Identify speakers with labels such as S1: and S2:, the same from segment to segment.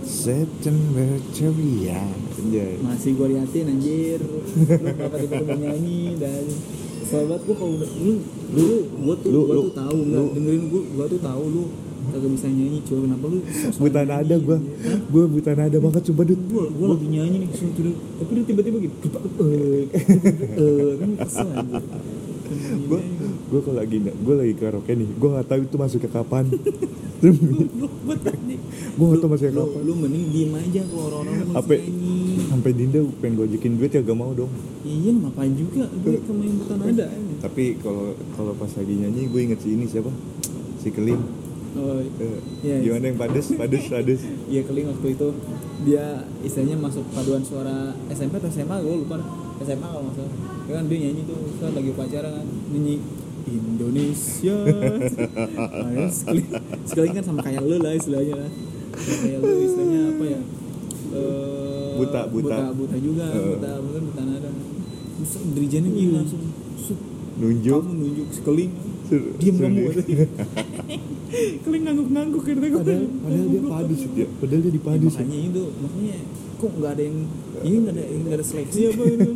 S1: Cen berceria Anjay
S2: masih gue liatin anjir lu kenapa tiba-tiba nyanyi dan sobat gue kalau udah- lu dulu gue tuh
S1: Lu-
S2: gue
S1: lu-
S2: tuh tahu nggak
S1: lu-
S2: dengerin gue gue tuh tahu lu kagak bisa nyanyi cuy kenapa lu sok-sokan
S1: Buta
S2: nyanyi,
S1: nada gua
S2: anjir?
S1: Gua buta nada banget coba dud
S2: gue gue lagi nyanyi nih suruh tidur tapi dia tiba-tiba gitu eh eh kan kesel anjir
S1: Gua Gua kalau lagi Gua lagi karaoke nih Gua nggak tahu itu masuknya kapan Terus
S2: gue tadi
S1: Gua nggak tahu masuknya
S2: lu,
S1: kapan
S2: lu mending diem aja kalau orang-orang masih
S1: Apa-
S2: nyanyi
S1: Sampai Dinda pengen gojekin duit ya gak mau dong
S2: iya ngapain juga gue kemarin buta nada anjir.
S1: Tapi kalau kalau pas lagi nyanyi gue inget si ini siapa? Si Keling.
S2: oh
S1: Eh,
S2: Iya, iya.
S1: gimana yang pedes, pedes, pedes.
S2: Iya keling waktu itu dia istilahnya masuk paduan suara SMP atau SMA gue lupa dah. SMA kalau nggak salah ya kan dia nyanyi tuh kan lagi upacara kan nyanyi Indonesia Ayo, sekali sekali kan sama kayak lu lah istilahnya lah Sama kayak lu istilahnya apa ya Eh,
S1: Buta, buta.
S2: buta buta juga
S1: Eh.
S2: buta buta buta nada terus dirijennya gini langsung sup,
S1: Nunjuk.
S2: kamu nunjuk sekeling
S1: Sur-
S2: diam kamu
S1: sur-
S2: keling ngangguk-ngangguk gitu. kira
S1: Padahal, padahal dia padus ya. Padahal dia
S2: Ya,
S1: dipadus.
S2: makanya itu makanya kok nggak ada yang ini nggak ada nggak ada seleksi apa itu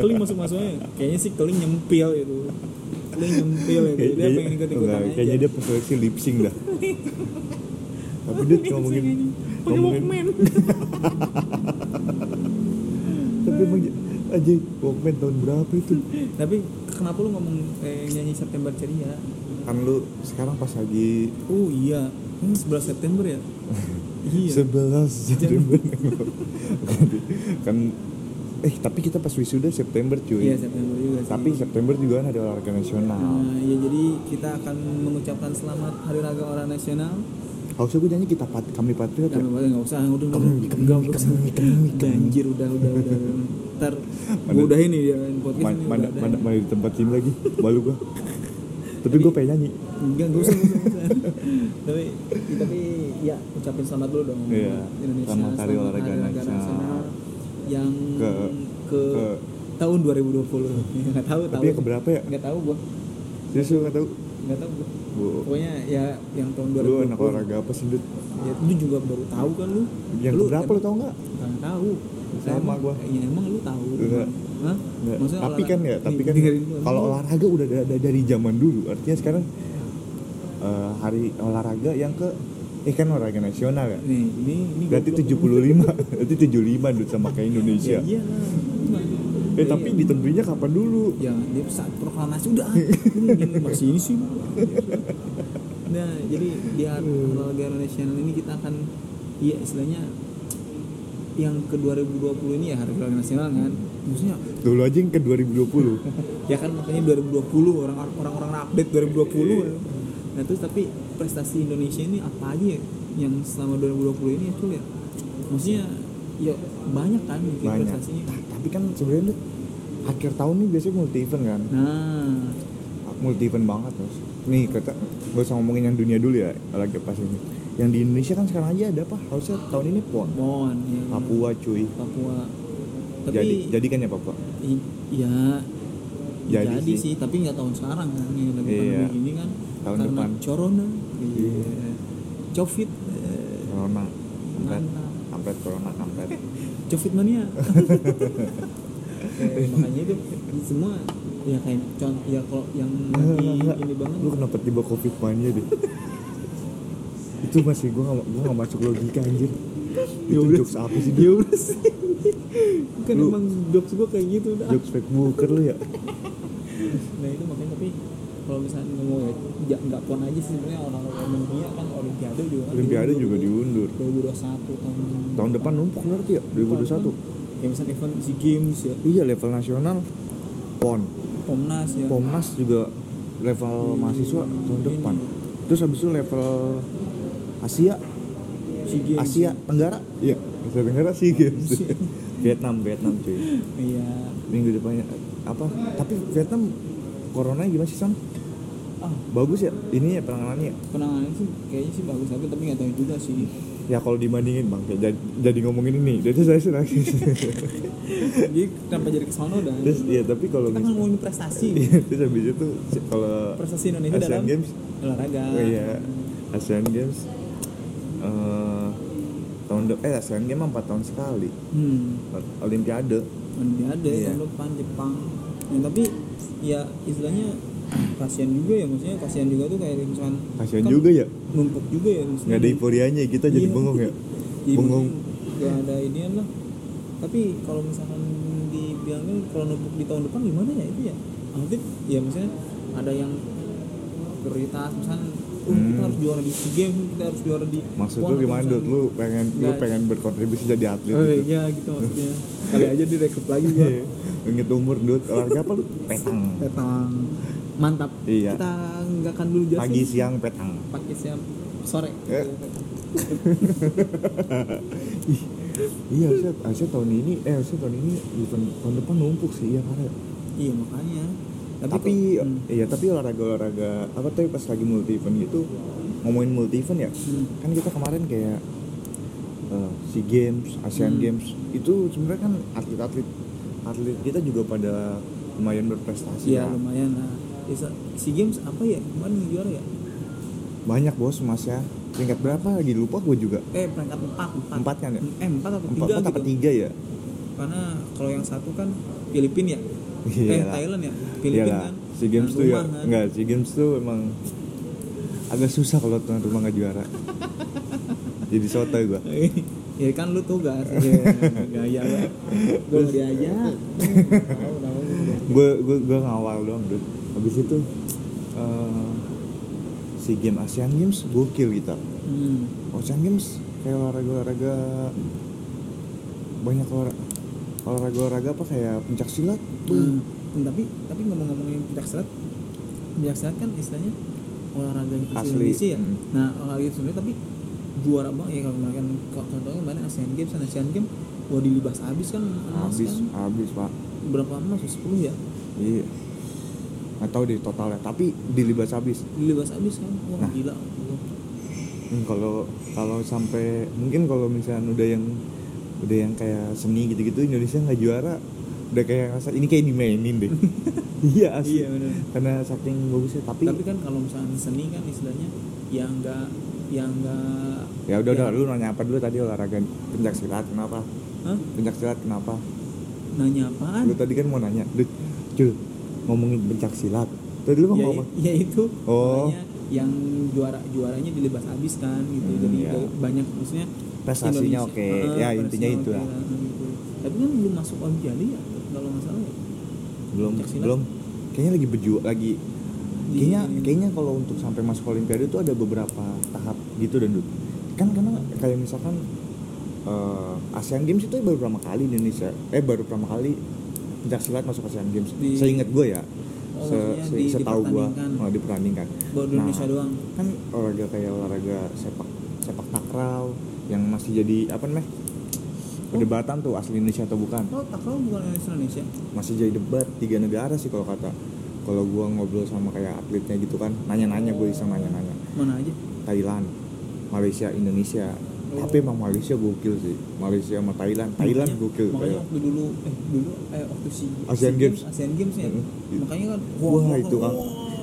S2: keling masuk masuknya kayaknya sih keling nyempil itu keling nyempil itu Iya, dia
S1: Kayaknya-
S2: pengen ikut ikutan
S1: enggak,
S2: aja
S1: Kayaknya dia profesi lip sync dah. Tapi dia ngomongin
S2: pakai
S1: ngomongin
S2: walkman
S1: tapi emang aja Walkman tahun berapa itu?
S2: tapi kenapa lu ngomong eh, nyanyi September ceria
S1: Kan lu sekarang pas lagi
S2: oh iya hmm, 11 September ya iya
S1: sebelas September kan eh tapi kita pas wisuda September cuy.
S2: iya September juga sih
S1: Tapi September juga kan ada olahraga nasional.
S2: Nah, ya jadi kita akan mengucapkan selamat Hari Raga Orang Nasional
S1: Harusnya gue nyanyi kita pat, kami patriot ya.
S2: Dan apa nggak usah, udah udah
S1: Kemi, kemi,
S2: nggak usah.
S1: kemi, kemi, kemi.
S2: Udah, Anjir udah udah udah. Ntar
S1: Mana-
S2: gue udahin nih ya podcast
S1: Mana
S2: ini
S1: mana
S2: udah
S1: mana
S2: udahin.
S1: mana ditempatin lagi malu gue. Tapi gue pengen nyanyi.
S2: Enggak nggak usah nggak usah, nggak usah. Tapi tapi ya ucapin selamat dulu dong.
S1: Iya,
S2: buat Indonesia
S1: selamat Hari Olahraga Nasional.
S2: yang ke,
S1: Ke- ke-
S2: tahun 2020. Enggak tahu
S1: Tapi
S2: tahu.
S1: yang keberapa ya?
S2: Enggak tahu gua.
S1: Terus lu nggak tahu.
S2: Enggak tahu gua.
S1: Gua
S2: Pokoknya ya yang tahun 2020.
S1: lu anak olahraga apa sih Dut?
S2: Ya, lu juga baru tahu kan lu?
S1: Yang
S2: lu
S1: keberapa lu tau nggak?
S2: Kan tahu.
S1: Sama
S2: Emang-
S1: gua.
S2: Ya emang lu tahu.
S1: Enggak.
S2: Hah?
S1: Nggak. Tapi
S2: olahraga-
S1: kan ya, tapi
S2: Nih,
S1: kan
S2: dengerin gua.
S1: kalau olahraga udah ada ada dari zaman dulu. Artinya sekarang eh, hari olahraga yang ke eh kan olahraga nasional ya.
S2: Nih, ini ini
S1: Berarti 75, berarti 75 Dut sama kayak Indonesia.
S2: Iya. Iya.
S1: ya? Eh tapi ditentuinnya kapan dulu?
S2: ya dia saat proklamasi udah ini masih ini sih nah jadi di hari olahraga nasional ini kita akan ya istilahnya yang ke 2020 ini ya hari olahraga nasional kan maksudnya
S1: Dulu aja yang ke 2020.
S2: ya kan makanya 2020 orang orang orang update
S1: Iya.
S2: 2020 nah terus tapi prestasi Indonesia ini apa aja ya yang selama 2020 ini ya Cul, ya maksudnya ya banyak kan gitu
S1: Banyak.
S2: prestasinya
S1: Nah, tapi kan sebenarnya Dut, akhir tahun nih biasanya multi event kan.
S2: nah
S1: multi event banget terus nih kata gak usah ngomongin yang dunia dulu ya lagi pas ini yang di Indonesia kan sekarang aja ada apa harusnya tahun ini pon
S2: mohon ya.
S1: Papua cuy
S2: Papua tapi
S1: jadi jadi kan ya Papua
S2: i- ya
S1: Jadi
S2: jadi,
S1: sih.
S2: sih. tapi nggak tahun sekarang kan yang lagi
S1: Iya.
S2: pandemi gini kan
S1: Tahun
S2: karena
S1: depan.
S2: corona
S1: Iya.
S2: iya. covid eh,
S1: corona kampret
S2: mantap.
S1: kampret corona kampret
S2: Covid mania. Eh, makanya itu semua ya kayak contoh ya kalau yang lagi ini banget
S1: Iya, lu kenapa tiba covid mania deh itu masih gua gak, gua gak masuk logika anjir
S2: Ya
S1: itu
S2: udah.
S1: jokes apa sih
S2: ya
S1: dia
S2: udah sih kan
S1: Lu-
S2: emang jokes gue kayak gitu dah
S1: jokes Facebooker lu ya
S2: nah itu makanya tapi kalau misalnya ngomong ya ja- nggak pon aja sih sebenarnya orang orang dunia kan olimpiade juga kan
S1: Olimpiade juga diundur
S2: 2021 tahun
S1: tahun depan numpuk berarti ya 2021
S2: ya misalnya event si games ya
S1: iya level nasional pon
S2: komnas ya
S1: Pomnas juga level mahasiswa tahun depan. Terus habis itu level Asia,
S2: si games
S1: Asia Tenggara. Iya, Asia Tenggara sih games. Vietnam, Vietnam cuy.
S2: iya
S1: Minggu depannya apa? Tapi Vietnam coronanya gimana sih Sam?
S2: ah
S1: Bagus ya, ini ya penanganannya.
S2: penanganan sih kayaknya sih bagus tapi tapi nggak tahu juga sih
S1: Ya kalau dibandingin bang, jadi, jadi ngomongin ini, jadi saya senang.
S2: jadi kenapa jadi kesono dan
S1: Terus ya tapi kalau
S2: kita kan
S1: misalnya,
S2: ngomongin prestasi
S1: terus habis itu si- kalau
S2: prestasi
S1: Iya.
S2: Indonesia
S1: Asian
S2: dalam
S1: Games
S2: olahraga
S1: Oh iya, Asian Games iya, eh tahun de- eh Asian Games mah 4 tahun sekali
S2: hmm.
S1: Olimpiade
S2: Olimpiade
S1: Iya.
S2: tahun depan Jepang. Nah, tapi ya istilahnya kasihan juga ya maksudnya kasihan juga tuh kayak misalkan
S1: kasihan
S2: kan
S1: juga ya
S2: numpuk juga ya maksudnya.
S1: nggak ada euforianya kita jadi
S2: Iya.
S1: bengong ya
S2: Jadi
S1: bengong
S2: mungkin nggak ada inian lah. Tapi kalau misalkan dibilangin kalau numpuk di tahun depan gimana ya itu ya? Aktif ya maksudnya ada yang prioritas misalkan "Oh, kita
S1: Hmm.
S2: harus juara di SEA Games, kita harus juara di
S1: maksud
S2: PON,"
S1: lu
S2: atau
S1: gimana
S2: misalkan-
S1: Dut? lu pengen lu
S2: Nggak.
S1: pengen berkontribusi jadi atlet
S2: Iya. Oh
S1: gitu Iya.
S2: iya gitu maksudnya. Kali aja direkrut lagi gua.
S1: Ingat umur Dut, olahraga apa lu? Petang
S2: petang mantap
S1: Iya.
S2: kita nggakkan dulu jasa
S1: Pagi siang petang
S2: pagi siang sore
S1: Eh. Iya harusnya, harusnya tahun ini, eh harusnya tahun ini event tahun depan numpuk sih ya karena
S2: iya makanya
S1: Tapi,
S2: kok- hmm.
S1: iya tapi olahraga-olahraga apa tapi pas lagi multi event gitu ngomongin multi event ya
S2: Hmm.
S1: kan kita kemarin kayak eh, Sea Games, Asian
S2: Hmm.
S1: Games itu sebenarnya kan atlet-atlet atlet kita juga pada lumayan berprestasi
S2: iya
S1: ya.
S2: lumayan lah Ya, sa- si games apa ya kemarin yang juara ya
S1: Banyak bos mas ya. Peringkat berapa lagi lupa gue juga.
S2: eh peringkat empat empat,
S1: Empat kan ya?
S2: eh empat atau
S1: Empat
S2: tiga
S1: empat apa
S2: gitu
S1: tiga ya?
S2: karena kalau yang satu kan Filipina ya eh
S1: Iyalah.
S2: Thailand ya
S1: Iya
S2: Filipina
S1: lah.
S2: kan
S1: Sea Games
S2: Tuan
S1: tuh ya,
S2: rumah kan.
S1: enggak Sea Games tuh emang agak susah kalau tuan rumah nggak juara. Jadi sotoy gua.
S2: ya kan lu tugas ya, gaya lu gue nggak diajak Tahu, tahu.
S1: gue gue gue ngawal doang dude habis itu eh, si game Asian Games gokil kita
S2: Hmm.
S1: Asian Games kayak olahraga olahraga banyak olahraga olahraga olahraga apa kayak pencak silat
S2: Hmm. Tapi tapi ngomong-ngomongin pencak silat, pencak silat kan istilahnya olahraga yang asli
S1: Asli.
S2: Indonesia ya.
S1: Hmm.
S2: Nah olahraga itu sendiri tapi juara banget ya kalau kemarin kalau contohnya kemarin Asian Games dan Asian Games wah dilibas habis kan emas
S1: habis
S2: kan
S1: habis pak
S2: berapa emas 10 ya
S1: iya nggak tahu deh totalnya tapi dilibas habis
S2: dilibas habis kan wah
S1: Nah.
S2: gila
S1: Hmm, kalau kalau sampai mungkin kalau misalnya udah yang udah yang kayak seni gitu-gitu Indonesia nggak juara udah kayak rasa ini kayak dimainin deh iya asli
S2: benar
S1: karena saking bagusnya tapi,
S2: tapi kan kalau misalnya seni kan istilahnya yang enggak yang enggak
S1: ya udah udah
S2: yang-
S1: lu nanya apa dulu tadi olahraga pencak silat kenapa
S2: Hah?
S1: pencak silat kenapa
S2: nanya apaan
S1: lu tadi kan mau nanya Dut, Cul, ngomongin pencak silat tadi lu mau
S2: ya,
S1: ngomong apa?
S2: ya itu
S1: Oh.
S2: makanya yang juara juaranya dilibas habis kan gitu
S1: Hmm,
S2: jadi
S1: ya.
S2: ba- banyak maksudnya
S1: prestasinya
S2: Indonesia-
S1: oke
S2: Heeh,
S1: ya
S2: prestasinya
S1: intinya
S2: oke
S1: itu lah
S2: lah, gitu. tapi kan belum masuk olimpiade ya kalau nggak salah ya
S1: belum
S2: Pencak silat.
S1: belum kayaknya lagi berjuang lagi
S2: Di-
S1: kayaknya kayaknya kalau untuk sampai masuk olimpiade itu ada beberapa tahap gitu dan Dut. kan karena kayak misalkan eh, Asian Games itu baru pertama kali Indonesia eh baru pertama kali pencak silat masuk Asian Games
S2: Di-
S1: seingat gue ya
S2: Oh,
S1: se,
S2: maksudnya
S1: se,
S2: di-
S1: setahu gue
S2: dipertandingkan.
S1: oh, dipertandingkan
S2: baru di
S1: Nah,
S2: Indonesia doang
S1: kan olahraga kayak olahraga sepak sepak takraw yang masih jadi apa namanya perdebatan tuh asli Indonesia atau bukan
S2: oh takraw bukan Indonesia Indonesia
S1: masih jadi debat tiga negara sih kalau kata kalau gua ngobrol sama kayak atletnya gitu kan nanya-nanya gue bisa nanya-nanya
S2: mana aja
S1: Thailand Malaysia Indonesia
S2: Oh.
S1: tapi emang Malaysia gokil sih Malaysia sama Thailand Thailand
S2: Makanya-
S1: gokil
S2: makanya
S1: kayak.
S2: waktu dulu eh dulu eh waktu si
S1: Asian
S2: si
S1: Games.
S2: Asian Games ya
S1: Mm-mm.
S2: makanya kan
S1: wah, itu kan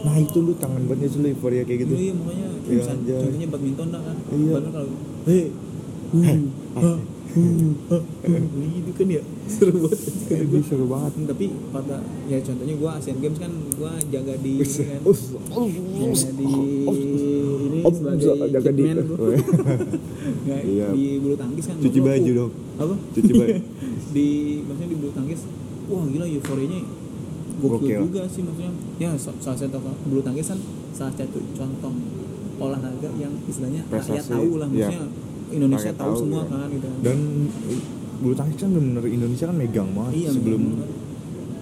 S1: nah itu lu tangan banget lu euforia kayak gitu
S2: gitu iya makanya
S1: Iya,
S2: misalnya
S1: anjay.
S2: contohnya badminton dah kan
S1: Iya.
S2: badminton kalau hei hu, ha, hu, ha, hu, gitu kan ya seru banget
S1: Eh,
S2: kata
S1: ini
S2: gua. Iya,
S1: seru banget
S2: tapi pada ya contohnya gua Asian Games kan gua jaga di
S1: Wis.
S2: kan
S1: Us, us,
S2: jaga di
S1: us,
S2: ini
S1: Om,
S2: sebagai
S1: oh, jaga di-
S2: kitman gua. Nggak,
S1: Iya.
S2: di bulu tangkis kan
S1: Cuci
S2: gua-
S1: baju
S2: uh,
S1: dong.
S2: apa
S1: Cuci baju.
S2: di maksudnya di bulu tangkis wah gila euforianya gokil,
S1: Gokil.
S2: juga sih maksudnya ya so- salah satu bulu tangkis kan salah satu contoh olahraga yang istilahnya rakyat
S1: Prestasi,
S2: tahu lah
S1: iya.
S2: maksudnya Indonesia
S1: Rakyat
S2: tahu,
S1: tahu,
S2: semua
S1: iya.
S2: kan gitu
S1: dan eh, bulu tangkis kan bener Indonesia kan megang banget
S2: iya,
S1: sebelum
S2: bener.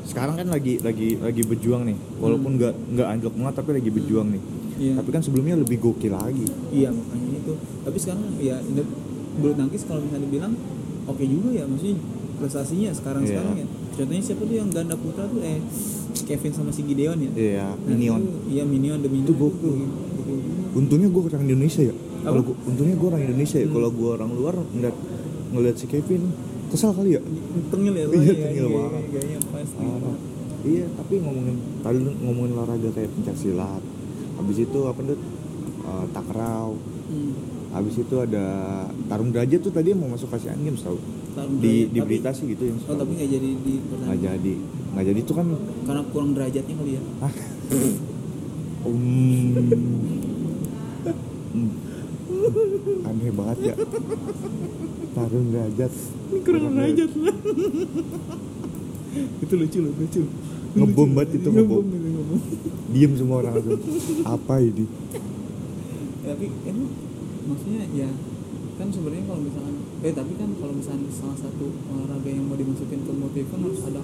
S1: sekarang kan lagi lagi lagi berjuang nih walaupun nggak nggak anjlok banget tapi lagi berjuang nih
S2: Hmm. Iya.
S1: tapi kan sebelumnya lebih gokil lagi
S2: Iya makanya itu. Tapi sekarang ya Indo- bulu tangkis kalau misalnya dibilang oke juga ya maksudnya prestasinya sekarang sekarang
S1: Iya.
S2: ya. Contohnya siapa tuh yang ganda putra tuh eh Kevin sama si Gideon ya.
S1: iya
S2: Nah,
S1: minion
S2: itu- Iya Minion demi
S1: Itu gokil. untungnya gue orang Indonesia ya kalau gua- untungnya gue orang Indonesia ya
S2: Hmm.
S1: kalau gue orang luar ngeliat ngeliat si Kevin kesal kali ya
S2: Tengil
S1: Iya,
S2: ya. soalnya ya,
S1: tengil
S2: gaya-
S1: banget.
S2: Gayanya pasti.
S1: Parah. iya tapi ngomongin tadi lu ngomongin olahraga kayak pencaksilat habis itu apa tuh eh, takraw
S2: Hmm.
S1: habis itu ada tarung derajat tuh tadi yang mau masuk ASEAN Games tau
S2: Tarung
S1: di
S2: derajat,
S1: di
S2: tapi-
S1: berita sih gitu yang
S2: Oh
S1: setahu.
S2: tapi nggak jadi di
S1: nggak
S2: pertandingan.
S1: jadi nggak jadi itu kan
S2: Karena kurang derajatnya kali ya.
S1: ah Hmm. Hmm. aneh banget ya tarung derajat
S2: Ini kurang derajat lah. itu lucu loh lucu.
S1: Ngebom banget itu, ngebom.
S2: itu, ngebom.
S1: diem semua orang langsung apa ini
S2: tapi kan maksudnya ya kan sebenarnya kalau misalkan eh tapi kan kalau misalkan salah satu olahraga yang mau dimasukin ke multi event harus ada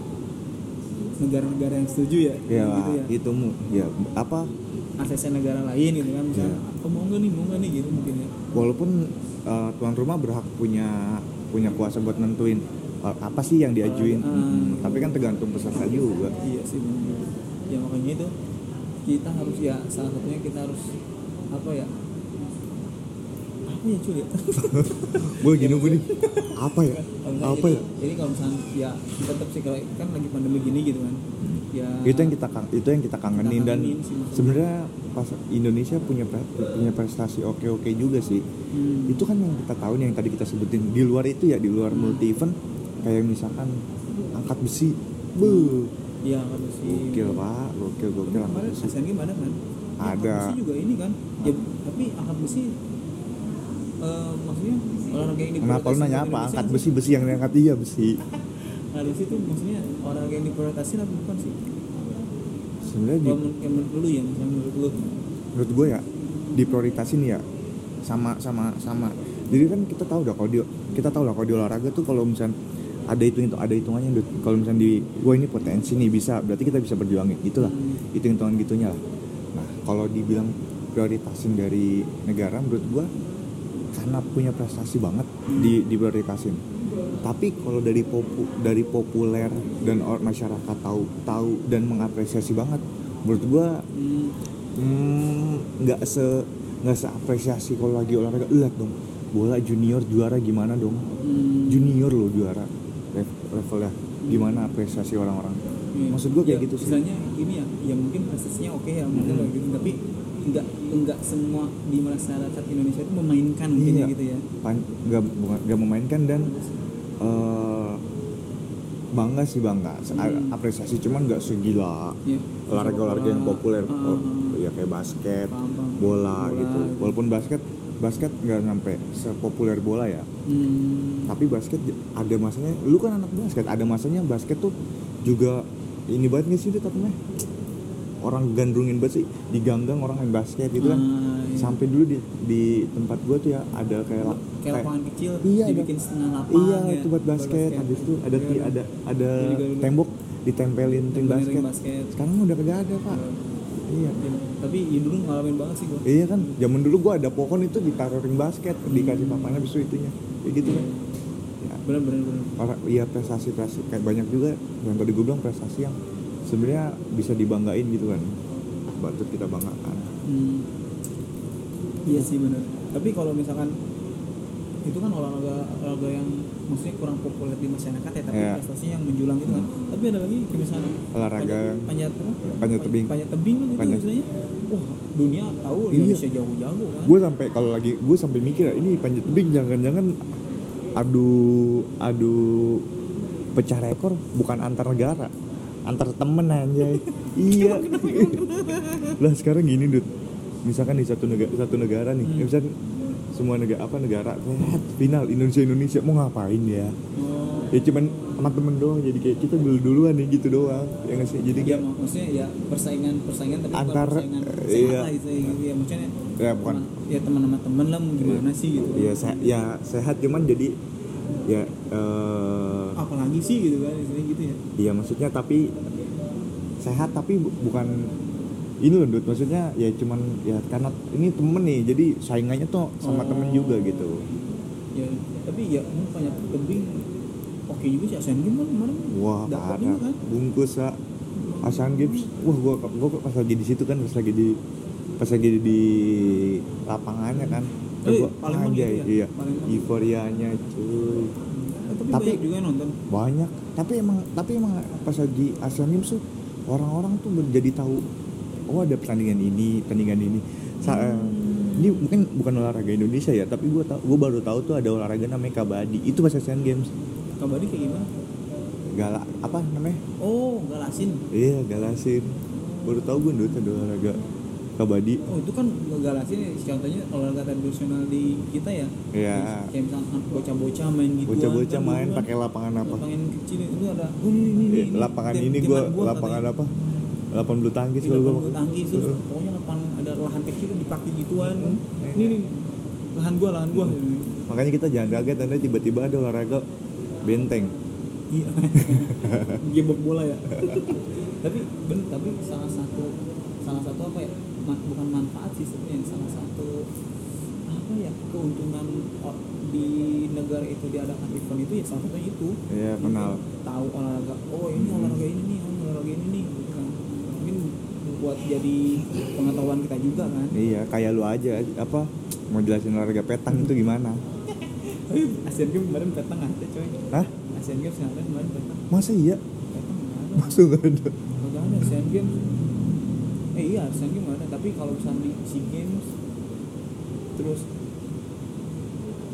S2: negara-negara yang setuju ya,
S1: ya
S2: gitu ya.
S1: itu mu ya apa
S2: ACC negara lain gitu kan misalnya
S1: Iya.
S2: oh, mau nggak nih mau nggak nih gitu mungkin ya
S1: walaupun eh, tuan rumah berhak punya punya kuasa buat nentuin eh, apa sih yang diajuin
S2: Ah,
S1: Mm-mm.
S2: gitu.
S1: tapi kan tergantung peserta juga
S2: iya sih bener juga. ya makanya itu kita harus ya salah satunya kita harus apa ya apa ya cuy ya
S1: gue gini gue nih apa ya
S2: Kalau misalnya
S1: apa
S2: jadi-
S1: ya
S2: jadi kalau misalnya ya tetap sih kalau kan lagi pandemi gini gitu kan ya
S1: itu yang kita kang- itu yang kita kangenin dan
S2: kangenin sih, maksudnya.
S1: sebenarnya pas Indonesia punya pre- punya prestasi oke oke juga sih
S2: Hmm.
S1: itu kan yang kita tahu nih, yang tadi kita sebutin di luar itu ya di luar multi event kayak misalkan angkat besi
S2: Hmm.
S1: bu
S2: Iya kan sih.
S1: gokil pak gokil gokil angkat
S2: Kemarin
S1: besi
S2: ASEAN Games ada kan? Ya,
S1: Ada.
S2: Angkat besi juga ini kan. Ya,
S1: Ada.
S2: tapi angkat besi eh, maksudnya olahraga yang
S1: kenapa lu
S2: diprioritaskan
S1: nanya
S2: di
S1: apa
S2: Indonesia
S1: angkat
S2: nggak
S1: besi
S2: sih?
S1: besi yang diangkat iya besi
S2: Angkat besi itu maksudnya olahraga yang diprioritaskan apa bukan sih?
S1: sebenarnya
S2: Kalau
S1: di-
S2: men- yang menurut lu ya, yang menurut lu.
S1: menurut gue ya diprioritasin ya sama sama sama jadi kan kita tahu dah kalau di kita tahu lah kalau di olahraga tuh kalau misalnya ada hitung itu ada hitungannya Dut. kalau misalnya di gue ini potensi nih bisa berarti kita bisa berjuangin itulah
S2: Hmm.
S1: hitung hitungan gitunya lah nah kalau dibilang prioritasin dari negara menurut gue karena punya prestasi banget di diprioritasin tapi kalau dari popu, dari populer dan or- masyarakat tahu tahu dan mengapresiasi banget menurut gue
S2: Hmm,
S1: Hmm, nggak se nggak seapresiasi kalau lagi olahraga lihat dong bola junior juara gimana dong
S2: hmm.
S1: junior loh juara lev- levelnya gimana apresiasi orang-orang
S2: Iya.
S1: maksud gue kayak
S2: Ya,
S1: gitu sih Hmm.
S2: Misalnya ini ya, ya mungkin prestasinya oke ya, mungkin
S1: Mm-mm.
S2: kayak gitu. Tapi enggak enggak semua di masyarakat Indonesia itu memainkan mungkin
S1: Iya.
S2: ya gitu ya.
S1: Pan- nggak bukan- nggak memainkan dan eh, bangga sih bangga Se- a-
S2: Hmm.
S1: apresiasi cuman nggak segila
S2: Iya.
S1: olahraga-olahraga yang populer
S2: Ah,
S1: Oh, ya kayak basket
S2: Paham, paham.
S1: bola, gitu
S2: gitu.
S1: walaupun basket basket nggak sampai sepopuler bola ya
S2: Hmm.
S1: tapi basket j- ada masanya lu kan anak basket ada masanya basket tuh juga ini banget gak sih itu tapi orang gandrungin banget sih diganggang orang main basket gitu kan
S2: Ah, iya.
S1: sampai dulu di, di tempat gua tuh ya ada kayak lap-
S2: kayak lapangan kecil
S1: Iya, ada-
S2: dibikin setengah lapangan
S1: iya itu buat basket habis itu ada ti- ada ada
S2: Iya, juga dulu.
S1: tembok ditempelin tim
S2: Tempelin
S1: basket.
S2: ring basket.
S1: sekarang udah kagak ada pak iya
S2: tapi ya dulu ngalamin banget sih gua
S1: iya kan zaman dulu gua ada pohon itu ditaruh ring basket dikasih papannya habis itu itunya ya gitu
S2: Iya.
S1: kan ya
S2: bener bener bener
S1: orang iya prestasi prestasi kayak banyak juga yang tadi gue bilang prestasi yang sebenarnya bisa dibanggain gitu kan patut kita banggakan
S2: hmm. iya sih bener tapi kalau misalkan itu kan olahraga olahraga yang maksudnya kurang populer di masyarakat ya tapi
S1: Iya. Hmm.
S2: prestasinya yang menjulang gitu kan tapi ada lagi kayak misalnya
S1: Olahraga yang-
S2: panjat apa?
S1: panjat tebing.
S2: panjat tebing kan itu
S1: Panjat.
S2: misalnya wah dunia tahu
S1: Iya.
S2: Indonesia jago-jago kan
S1: gue sampai kalau lagi gue sampai mikir ini panjat tebing jangan-jangan adu adu pecah rekor bukan antar negara antar temen aja iya lah sekarang gini dud misalkan di satu negara satu negara nih
S2: Hmm.
S1: ya misalkan semua negara apa negara eh, final Indonesia Indonesia mau ngapain ya
S2: Oh.
S1: ya cuman sama temen doang jadi kayak kita dulu duluan nih gitu doang ya nggak sih jadi
S2: Iya,
S1: kayak
S2: maksudnya ya persaingan persaingan tapi bukan
S1: Antar-
S2: persaingan
S1: eh,
S2: sehat
S1: iya.
S2: lah gitu ya, gitu ya maksudnya
S1: Ya, bukan.
S2: ya teman sama teman lah mau gimana sih gitu
S1: ya se- ya sehat cuman jadi ya eh
S2: apalagi sih gitu kan istilahnya gitu ya
S1: ya maksudnya tapi sehat tapi bu- bukan ini loh Dut. maksudnya ya cuman ya karena ini temen nih jadi saingannya tuh sama
S2: Oh.
S1: temen juga gitu
S2: ya tapi ya mau banyak tebing oke juga sih ASEAN Games kan kemarin
S1: wah
S2: dapat
S1: parah
S2: juga kan
S1: bungkus lah Asian Games wah gua gua pas lagi di situ kan pas lagi di pas lagi di lapangannya kan
S2: Eh,
S1: Gua-
S2: Palembang gitu ya?
S1: iya
S2: Palembang.
S1: euforianya cuy
S2: Eh, tapi,
S1: Tapi-
S2: banyak juga yang nonton
S1: banyak tapi emang tapi emang pas lagi Asian Games tuh orang-orang tuh menjadi tahu oh ada pertandingan ini pertandingan ini Sa- eh, ini mungkin bukan olahraga Indonesia ya tapi gue tau gue baru tahu tuh ada olahraga namanya kabadi itu pas Asian Games
S2: Kabadi kayak gimana?
S1: galak apa namanya
S2: Oh, galasin.
S1: iya galasin baru tahu gue dulu ada olahraga kabadi
S2: Oh, itu kan galasin contohnya olahraga tradisional di kita ya.
S1: Iya.
S2: Kayak misalkan bocah-bocah main gitu.
S1: bocah-bocah main pakai lapangan apa
S2: Lapangan kecil itu ada. Oh, ini ini.
S1: Eh, lapangan ini gue lapangan apa Gitu lapangan bulu tangkis
S2: Ini
S1: kalau gue
S2: lapangan bulu Iya, tangkis terus pokoknya lapangan ada lahan kecil dipakai gituan. Ini nih lahan gua, lahan gua.
S1: makanya kita jangan kaget nanti tiba-tiba ada olahraga benteng
S2: Iya. Dia bak bola ya. tapi bener, tapi salah satu salah satu apa ya? ma- bukan manfaat sih sebenarnya salah satu apa ya keuntungan o- di negara itu diadakan event itu ya salah satunya itu
S1: Iya,
S2: Mungkin
S1: kenal.
S2: tahu olahraga oh ini
S1: Hmm.
S2: olahraga ini nih oh, ini olahraga ini nih gitu kan mungkin buat jadi pengetahuan kita juga kan
S1: iya kayak lu aja apa mau jelasin olahraga petang itu gimana
S2: Asian Games kemarin petang ada coy
S1: Hah?
S2: Asian Games nggak ada kemarin petang
S1: masa iya
S2: petang nggak ada
S1: masa nggak ada
S2: Gak ada Asian Games Eh iya Asian Games ada Tapi kalau misalnya di SEA Games Terus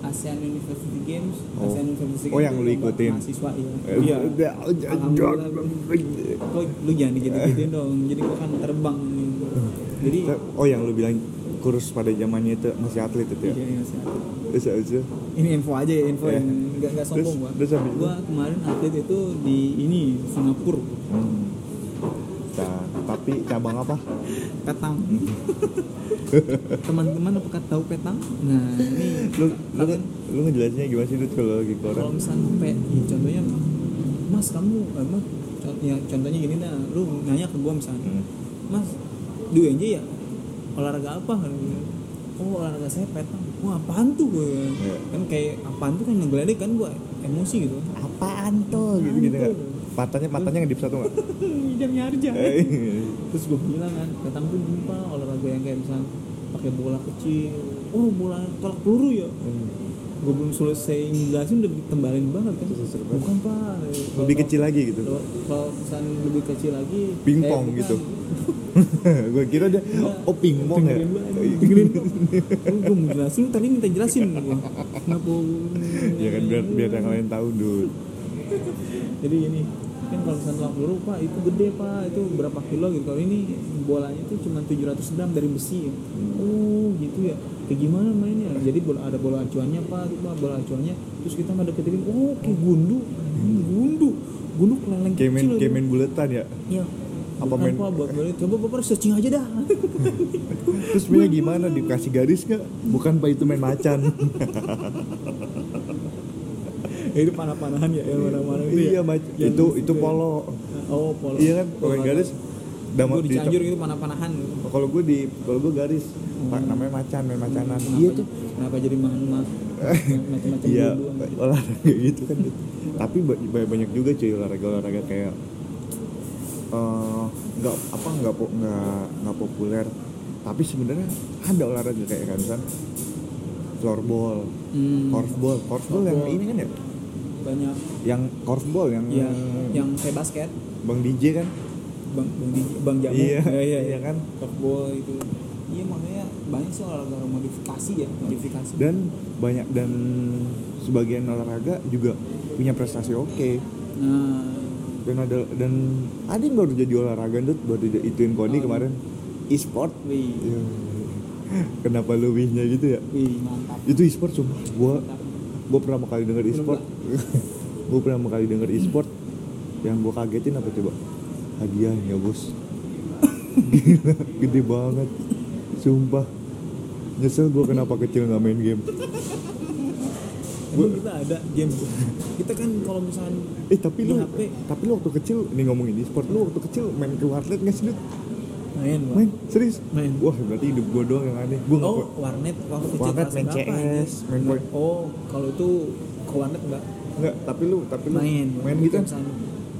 S2: ASEAN University Games
S1: Oh.
S2: ASEAN University
S1: Oh,
S2: Games
S1: yang
S2: itu
S1: lu
S2: lomba
S1: ikutin.
S2: Mahasiswa iya
S1: Eh,
S2: Iya
S1: udah, udah,
S2: Alhamdulillah.
S1: udah. Eh.
S2: Kok lu jangan digede-gedein dong Jadi gua kan terbang nih. Jadi
S1: oh yang lu bilang kurus pada zamannya itu masih atlet itu ya
S2: Iya, iya, ASEAN.
S1: terus abis itu
S2: ini info aja ya, info
S1: Iya.
S2: yang nggak nggak sombong gua.
S1: terus habis itu?
S2: Gua kemarin atlet itu di ini Singapura
S1: hmm. Nah, tapi cabang apa
S2: petang. Teman-teman apakah tahu petang? Nah, ini
S1: lu lu lu ngejelasinnya gimana sih lu kalau lagi ke orang
S2: kalau misalnya pe, ya, contohnya mas kamu emang contohnya contohnya gini nah lu nanya ke gua misalnya
S1: Hmm.
S2: mas di UNJ ya olahraga apa Kan oh olahraga saya petang wah apaan tuh gue
S1: Iya.
S2: kan kayak apaan tuh kan ngegeledek kan gua emosi gitu
S1: apaan tuh gitu gitu nggak? matanya matanya ngedip satu nggak
S2: jamnya Arja
S1: Eh,
S2: terus gue bilang kan petang tuh jumpa olahraga yang kayak misalnya pakai bola kecil oh bola tolak peluru ya gue belum selesai ngejelasin udah ditembalin banget kan
S1: Terus seru banget.
S2: bukan pak
S1: lebih kecil lagi gitu
S2: kalau kalau pesan lebih kecil lagi eh,
S1: Pingpong
S2: bukan.
S1: gitu. gue kira dia oh pingpong ya
S2: Dengerin banget, dengerin gue mau jelasin lu tadi minta jelasin
S1: kan,
S2: gua. kenapa
S1: ya kan biar biar yang lain tahu dulu
S2: jadi ini kan kalau misalnya tolak peluru pak itu gede pak itu berapa kilo gitu kalau ini bolanya tuh cuma 700 gram dari besi ya. oh gitu ya kayak gimana mainnya jadi bola, ada bola acuannya pak gitu pak bola acuannya terus kita nggak deketin oh kayak gundu Hmm, gundu gundu keleleng
S1: kayak main
S2: kecil
S1: kayak
S2: itu.
S1: main buletan ya
S2: Iya.
S1: Apa
S2: Bukan,
S1: main-
S2: Pak, buat balik coba bapak searching aja dah
S1: terus punya gimana dikasih garis nggak bukan pak itu main macan
S2: ya, itu panah-panahan ya yang mana-mana itu ya.
S1: iya mac-
S2: Yang- ya.
S1: itu itu polo
S2: oh polo
S1: iya kan kalau garis
S2: gue
S1: damat
S2: di
S1: di
S2: Cianjur gitu panah-panahan
S1: kalau gue di kalau gue garis pak namanya macan main macanan iya tuh
S2: kenapa jadi mahan mas macam-macam
S1: Iya,
S2: dua-duaan.
S1: olahraga gitu kan. Tapi ba- ba- banyak juga cuy olahraga-olahraga kayak eh, nggak apa nggak po- nggak nggak populer. Tapi sebenarnya ada olahraga kayak kan kan floorball,
S2: Hmm,
S1: korfball, korfball yang
S2: Korfball.
S1: ini kan ya,
S2: banyak
S1: yang korfball yang
S2: ya
S1: Hmm.
S2: yang kayak basket
S1: bang DJ kan?
S2: bang bang, Didi- bang jamu
S1: Iya,
S2: ya, iya,
S1: iya kan?
S2: Softball itu iya makanya banyak sih olahraga modifikasi ya modifikasi
S1: Dan banyak dan sebagian olahraga juga punya prestasi oke.
S2: nah
S1: dan ada dan ada yang baru jadi olahraga Dut, baru di- ituin Koni
S2: Oh.
S1: kemarin e-sport
S2: wih
S1: Iya. kenapa lu wihnya gitu ya
S2: wih mantap
S1: itu e-sport sumpah gua
S2: mantap
S1: gua pertama kali denger e-sport gua pertama kali denger e-sport yang gua kagetin apa coba hadiah ya bos gila gede banget sumpah nyesel gua kenapa kecil nggak main game
S2: Emang kita ada game kita kan kalau misalnya
S1: eh tapi lu
S2: Di HP.
S1: tapi lu waktu kecil nih ngomongin e-sport lu waktu kecil main ke warnet nggak sih Dut?
S2: main Pak.
S1: main serius
S2: Main.
S1: wah berarti hidup gua doang yang aneh gua nggak
S2: oh warnet waktu kecil
S1: Warnet
S2: kelas
S1: main
S2: berapa,
S1: CS,
S2: anjing?
S1: main Point.
S2: oh kalau itu ke warnet enggak
S1: Enggak, tapi lu tapi lu
S2: main
S1: main gitu.
S2: Kayak misalnya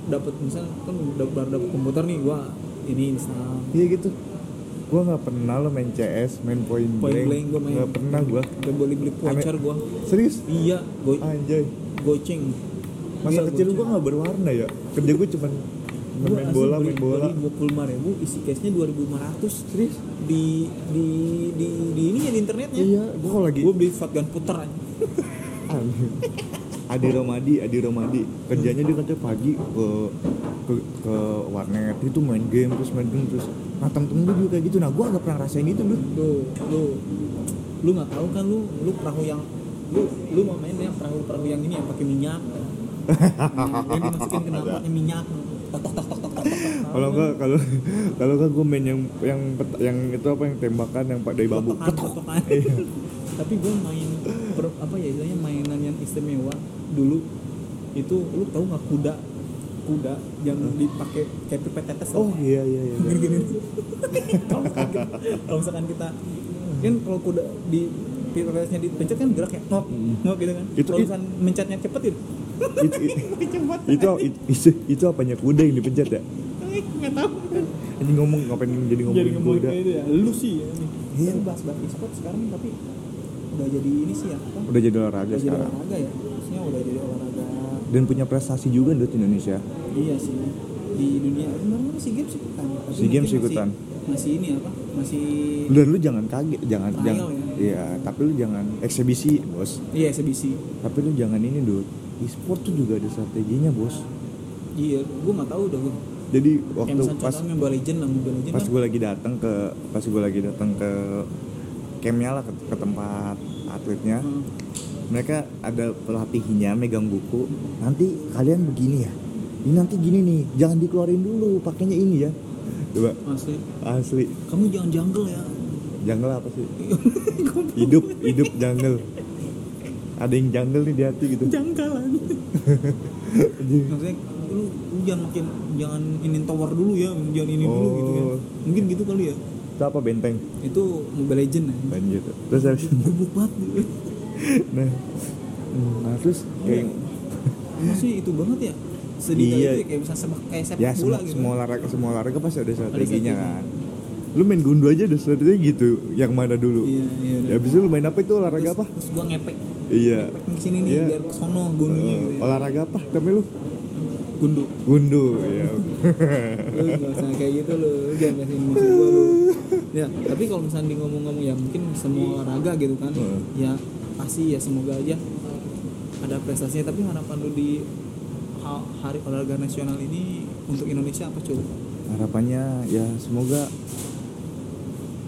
S2: dapat misalnya kan udah baru dapat komputer nih gua ini install
S1: Iya gitu. Gua nggak pernah lo main CS, main point,
S2: Point blank ya gua main.
S1: Nggak pernah gua.
S2: udah boleh beli voucher gua
S1: Serius?
S2: iya go
S1: Anjay.
S2: goceng
S1: Masa
S2: Iya,
S1: kecil
S2: goceng.
S1: gua nggak berwarna ya. Kerja gua cuman
S2: Gua
S1: Main
S2: asli
S1: bola,
S2: beli-
S1: main bola.
S2: beli buku 5.000 isi cashnya 2.500
S1: Serius?
S2: di di di di ini ya di internetnya
S1: Iya, gua kalau lagi
S2: gue beli shotgun puter aja
S1: Anjing. Adi Romadi, Adi Romadi kerjanya dia katanya pagi ke ke, ke warnet itu main game terus main game terus nah temen-temen gue juga kayak gitu nah gue agak pernah rasain gitu dulu
S2: lu lu lu nggak tahu kan lu lu perahu yang lu lu mau main yang perahu perahu yang ini yang pakai minyak Nah, yang dimasukin ke
S1: Ada.
S2: napaknya minyak tok tok tok tok tok tok, tok
S1: kalau enggak kalau kalau enggak gue main yang yang pet- yang itu apa yang tembakan yang pak dari bambu
S2: Kotokan,
S1: Ketok.
S2: kotokan.
S1: Iya.
S2: tapi gue main per- apa ya istilahnya mainan yang istimewa dulu itu lu tahu nggak kuda kuda yang dipakai kayak pipet tetes
S1: Hmm. oh iya iya iya
S2: gini-gini kalau misalkan kita- kalau misalkan kita kan kalau kuda di pipetnya dipencet kan gerak ya ngok
S1: Mm.
S2: ngok gitu kan
S1: Itu-
S2: kalau misalkan mencetnya cepet gitu, itu
S1: itu, itu, itu itu itu apanya kuda yang dipencet ya
S2: eh, nggak tahu
S1: ini ngomong ngapain jadi
S2: jadi
S1: ngomongin
S2: ngomongin
S1: kuda
S2: kayak itu ya lu sih ya ini
S1: Iya.
S2: Tapi bahas-bahas e-sport sekarang tapi udah jadi ini sih ya apa
S1: udah jadi olahraga
S2: udah jadi
S1: sekarang
S2: olahraga ya maksudnya udah jadi olahraga
S1: dan punya prestasi juga Dut Indonesia
S2: iya sih di dunia kemarin kan si games ikutan tapi
S1: SEA Games
S2: mungkin masih-
S1: ikutan.
S2: masih ini apa masih
S1: dan lu jangan kaget jangan
S2: Trial
S1: jangan
S2: ya?
S1: iya tapi lu jangan eksebisi bos
S2: iya SBC
S1: tapi lu jangan ini Dut e-sport tuh juga ada strateginya bos
S2: iya gua nggak tahu udah gua
S1: jadi
S2: Kayak
S1: waktu
S2: misalnya
S1: pas
S2: contohnya Mobile Legend lah, Mobile Legend
S1: pas
S2: kan
S1: gue lagi datang ke pas gue lagi datang ke campnya lah ke, ke tempat atletnya
S2: Hmm.
S1: mereka ada pelatihnya megang buku nanti kalian begini ya ini nanti gini nih jangan dikeluarin dulu pakainya ini ya coba
S2: Asli,
S1: asli
S2: kamu jangan jungle ya.
S1: jungle apa sih hidup hidup jungle ada yang jungle nih di hati gitu
S2: Jangkalan. Maksudnya lu, lu jangan makin jangan inin tower dulu ya, jangan ini dulu gitu kan.
S1: Oh.
S2: Mungkin gitu kali ya.
S1: itu apa benteng
S2: Itu Mobile Legend ya.
S1: Main gitu terus habis
S2: Goblok banget. gitu.
S1: nah, nah terus kayak
S2: Maksudnya itu banget ya. Sedih
S1: Iya.
S2: itu ya, kayak bisa sepak kayak sepak
S1: ya
S2: bola
S1: semua,
S2: gitu.
S1: semua olahraga semua olahraga pasti ada strateginya
S2: strateginya.
S1: kan lu main gundu aja udah strateginya gitu yang mana dulu
S2: Iya, iya.
S1: ya abis itu lu main apa itu olahraga
S2: Terus-
S1: apa
S2: Terus gua ngepek.
S1: iya
S2: Ngepek ke sini nih
S1: Iya.
S2: biar ke sono gundunya gitu.
S1: Eh,
S2: Ya.
S1: olahraga apa tapi lu
S2: Gundu.
S1: gundu ya
S2: lu gak usah kayak gitu lu Lu jangan kasihin maksud gua lu ya tapi kalau misalnya di ngomong-ngomong ya mungkin semua olahraga gitu kan
S1: Hmm.
S2: ya pasti ya semoga aja ada prestasinya tapi harapan lu di ha- hari olahraga nasional ini untuk Indonesia apa cuy
S1: harapannya ya semoga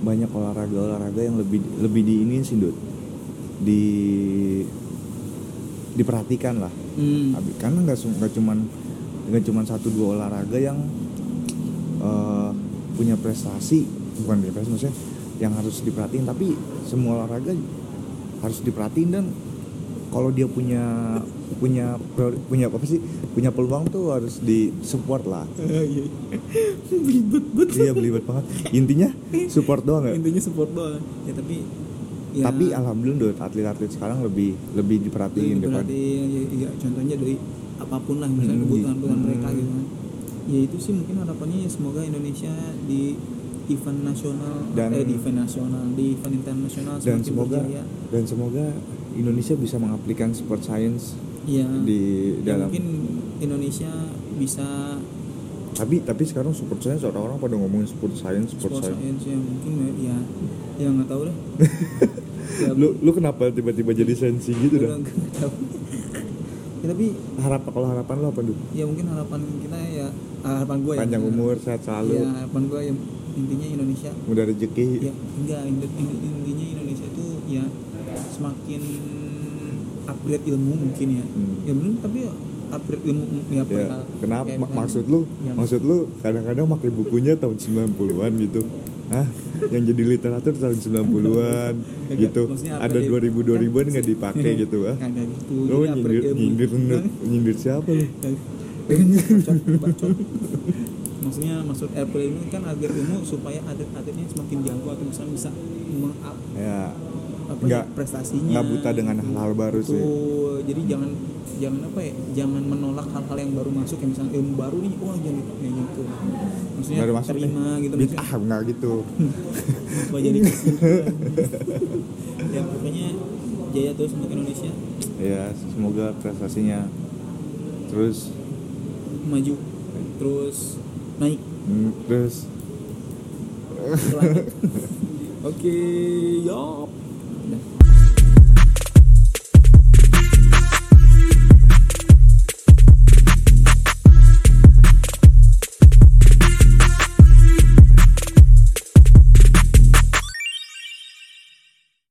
S1: banyak olahraga olahraga yang lebih lebih diinin sih Dut. di diperhatikan lah
S2: hmm.
S1: Abi- karena nggak sum- nggak cuman nggak cuman satu dua olahraga yang eh, punya prestasi bukan punya prestasi maksudnya yang harus diperhatiin tapi semua olahraga harus diperhatiin dan kalau dia punya punya priori- punya apa sih punya peluang tuh harus di support lah
S2: Iya, belibet bet
S1: iya belibet banget intinya support doang ya
S2: intinya support doang ya tapi ya,
S1: tapi alhamdulillah Dut, atlet-atlet sekarang lebih lebih diperhatiin
S2: Lebih
S1: daripada-
S2: diperhatiin, ya, ya, contohnya dari apapun lah misalnya
S1: Hmm,
S2: kebutuhan-kebutuhan
S1: gitu.
S2: mereka gitu kan ya itu sih mungkin harapannya ya semoga Indonesia di event nasional
S1: Dan-
S2: eh, di event nasional di event internasional
S1: dan
S2: semakin
S1: semoga
S2: berjaya.
S1: dan semoga Indonesia bisa mengaplikan sport science
S2: ya,
S1: di
S2: ya
S1: dalam
S2: mungkin Indonesia bisa
S1: tapi tapi sekarang sport science orang-orang pada ngomongin sport science sport,
S2: sport
S1: science,
S2: science ya mungkin ya ya nggak tahu lah Ya,
S1: lu lu kenapa tiba-tiba jadi sensi gitu
S2: udah
S1: dah
S2: nggak tahu ya, tapi
S1: harapan kalau harapan lo apa dulu
S2: ya mungkin harapan kita ya harapan gue ya
S1: panjang umur sehat selalu
S2: ya harapan gue ya intinya Indonesia
S1: mudah rezeki Iya.
S2: ya enggak Indo- in- intinya Indonesia itu ya semakin upgrade ilmu mungkin ya
S1: Hmm.
S2: ya belum tapi upgrade ilmu ya,
S1: ya
S2: perihal-
S1: kenapa
S2: kayak
S1: Ma-
S2: misalnya-
S1: maksud lu
S2: Ya.
S1: maksud lu kadang-kadang makai bukunya tahun 90-an gitu Hah? yang jadi literatur tahun 90-an
S2: Enggak,
S1: gitu
S2: maksudnya
S1: ada
S2: upgrade ilmu.
S1: 2000 2000-an nggak dipakai gitu ah
S2: Kagak gitu
S1: lu
S2: Jadi upgrade
S1: nyindir
S2: ilmu. Kan?
S1: nyindir nyindir siapa Ya, lu
S2: Bacot, bacot. maksudnya maksud upgrade ilmu kan upgrade ilmu supaya atlet-atletnya semakin jago atau misalnya bisa meng-up
S1: ya
S2: apa
S1: Nggak-
S2: ya, prestasinya
S1: nggak buta dengan hal-hal baru sih.
S2: Betul. jadi jangan jangan apa ya jangan menolak hal-hal yang baru masuk kayak misalnya ilmu baru nih wah jangan kayak gitu maksudnya
S1: baru masuk
S2: terima
S1: nih.
S2: gitu
S1: Bit-
S2: maksudnya
S1: ah nggak gitu
S2: wah jadi kesimpulan. ya pokoknya jaya terus untuk Indonesia
S1: ya semoga prestasinya terus
S2: maju terus naik
S1: Hmm, terus
S2: ke langit. oke yop Udah.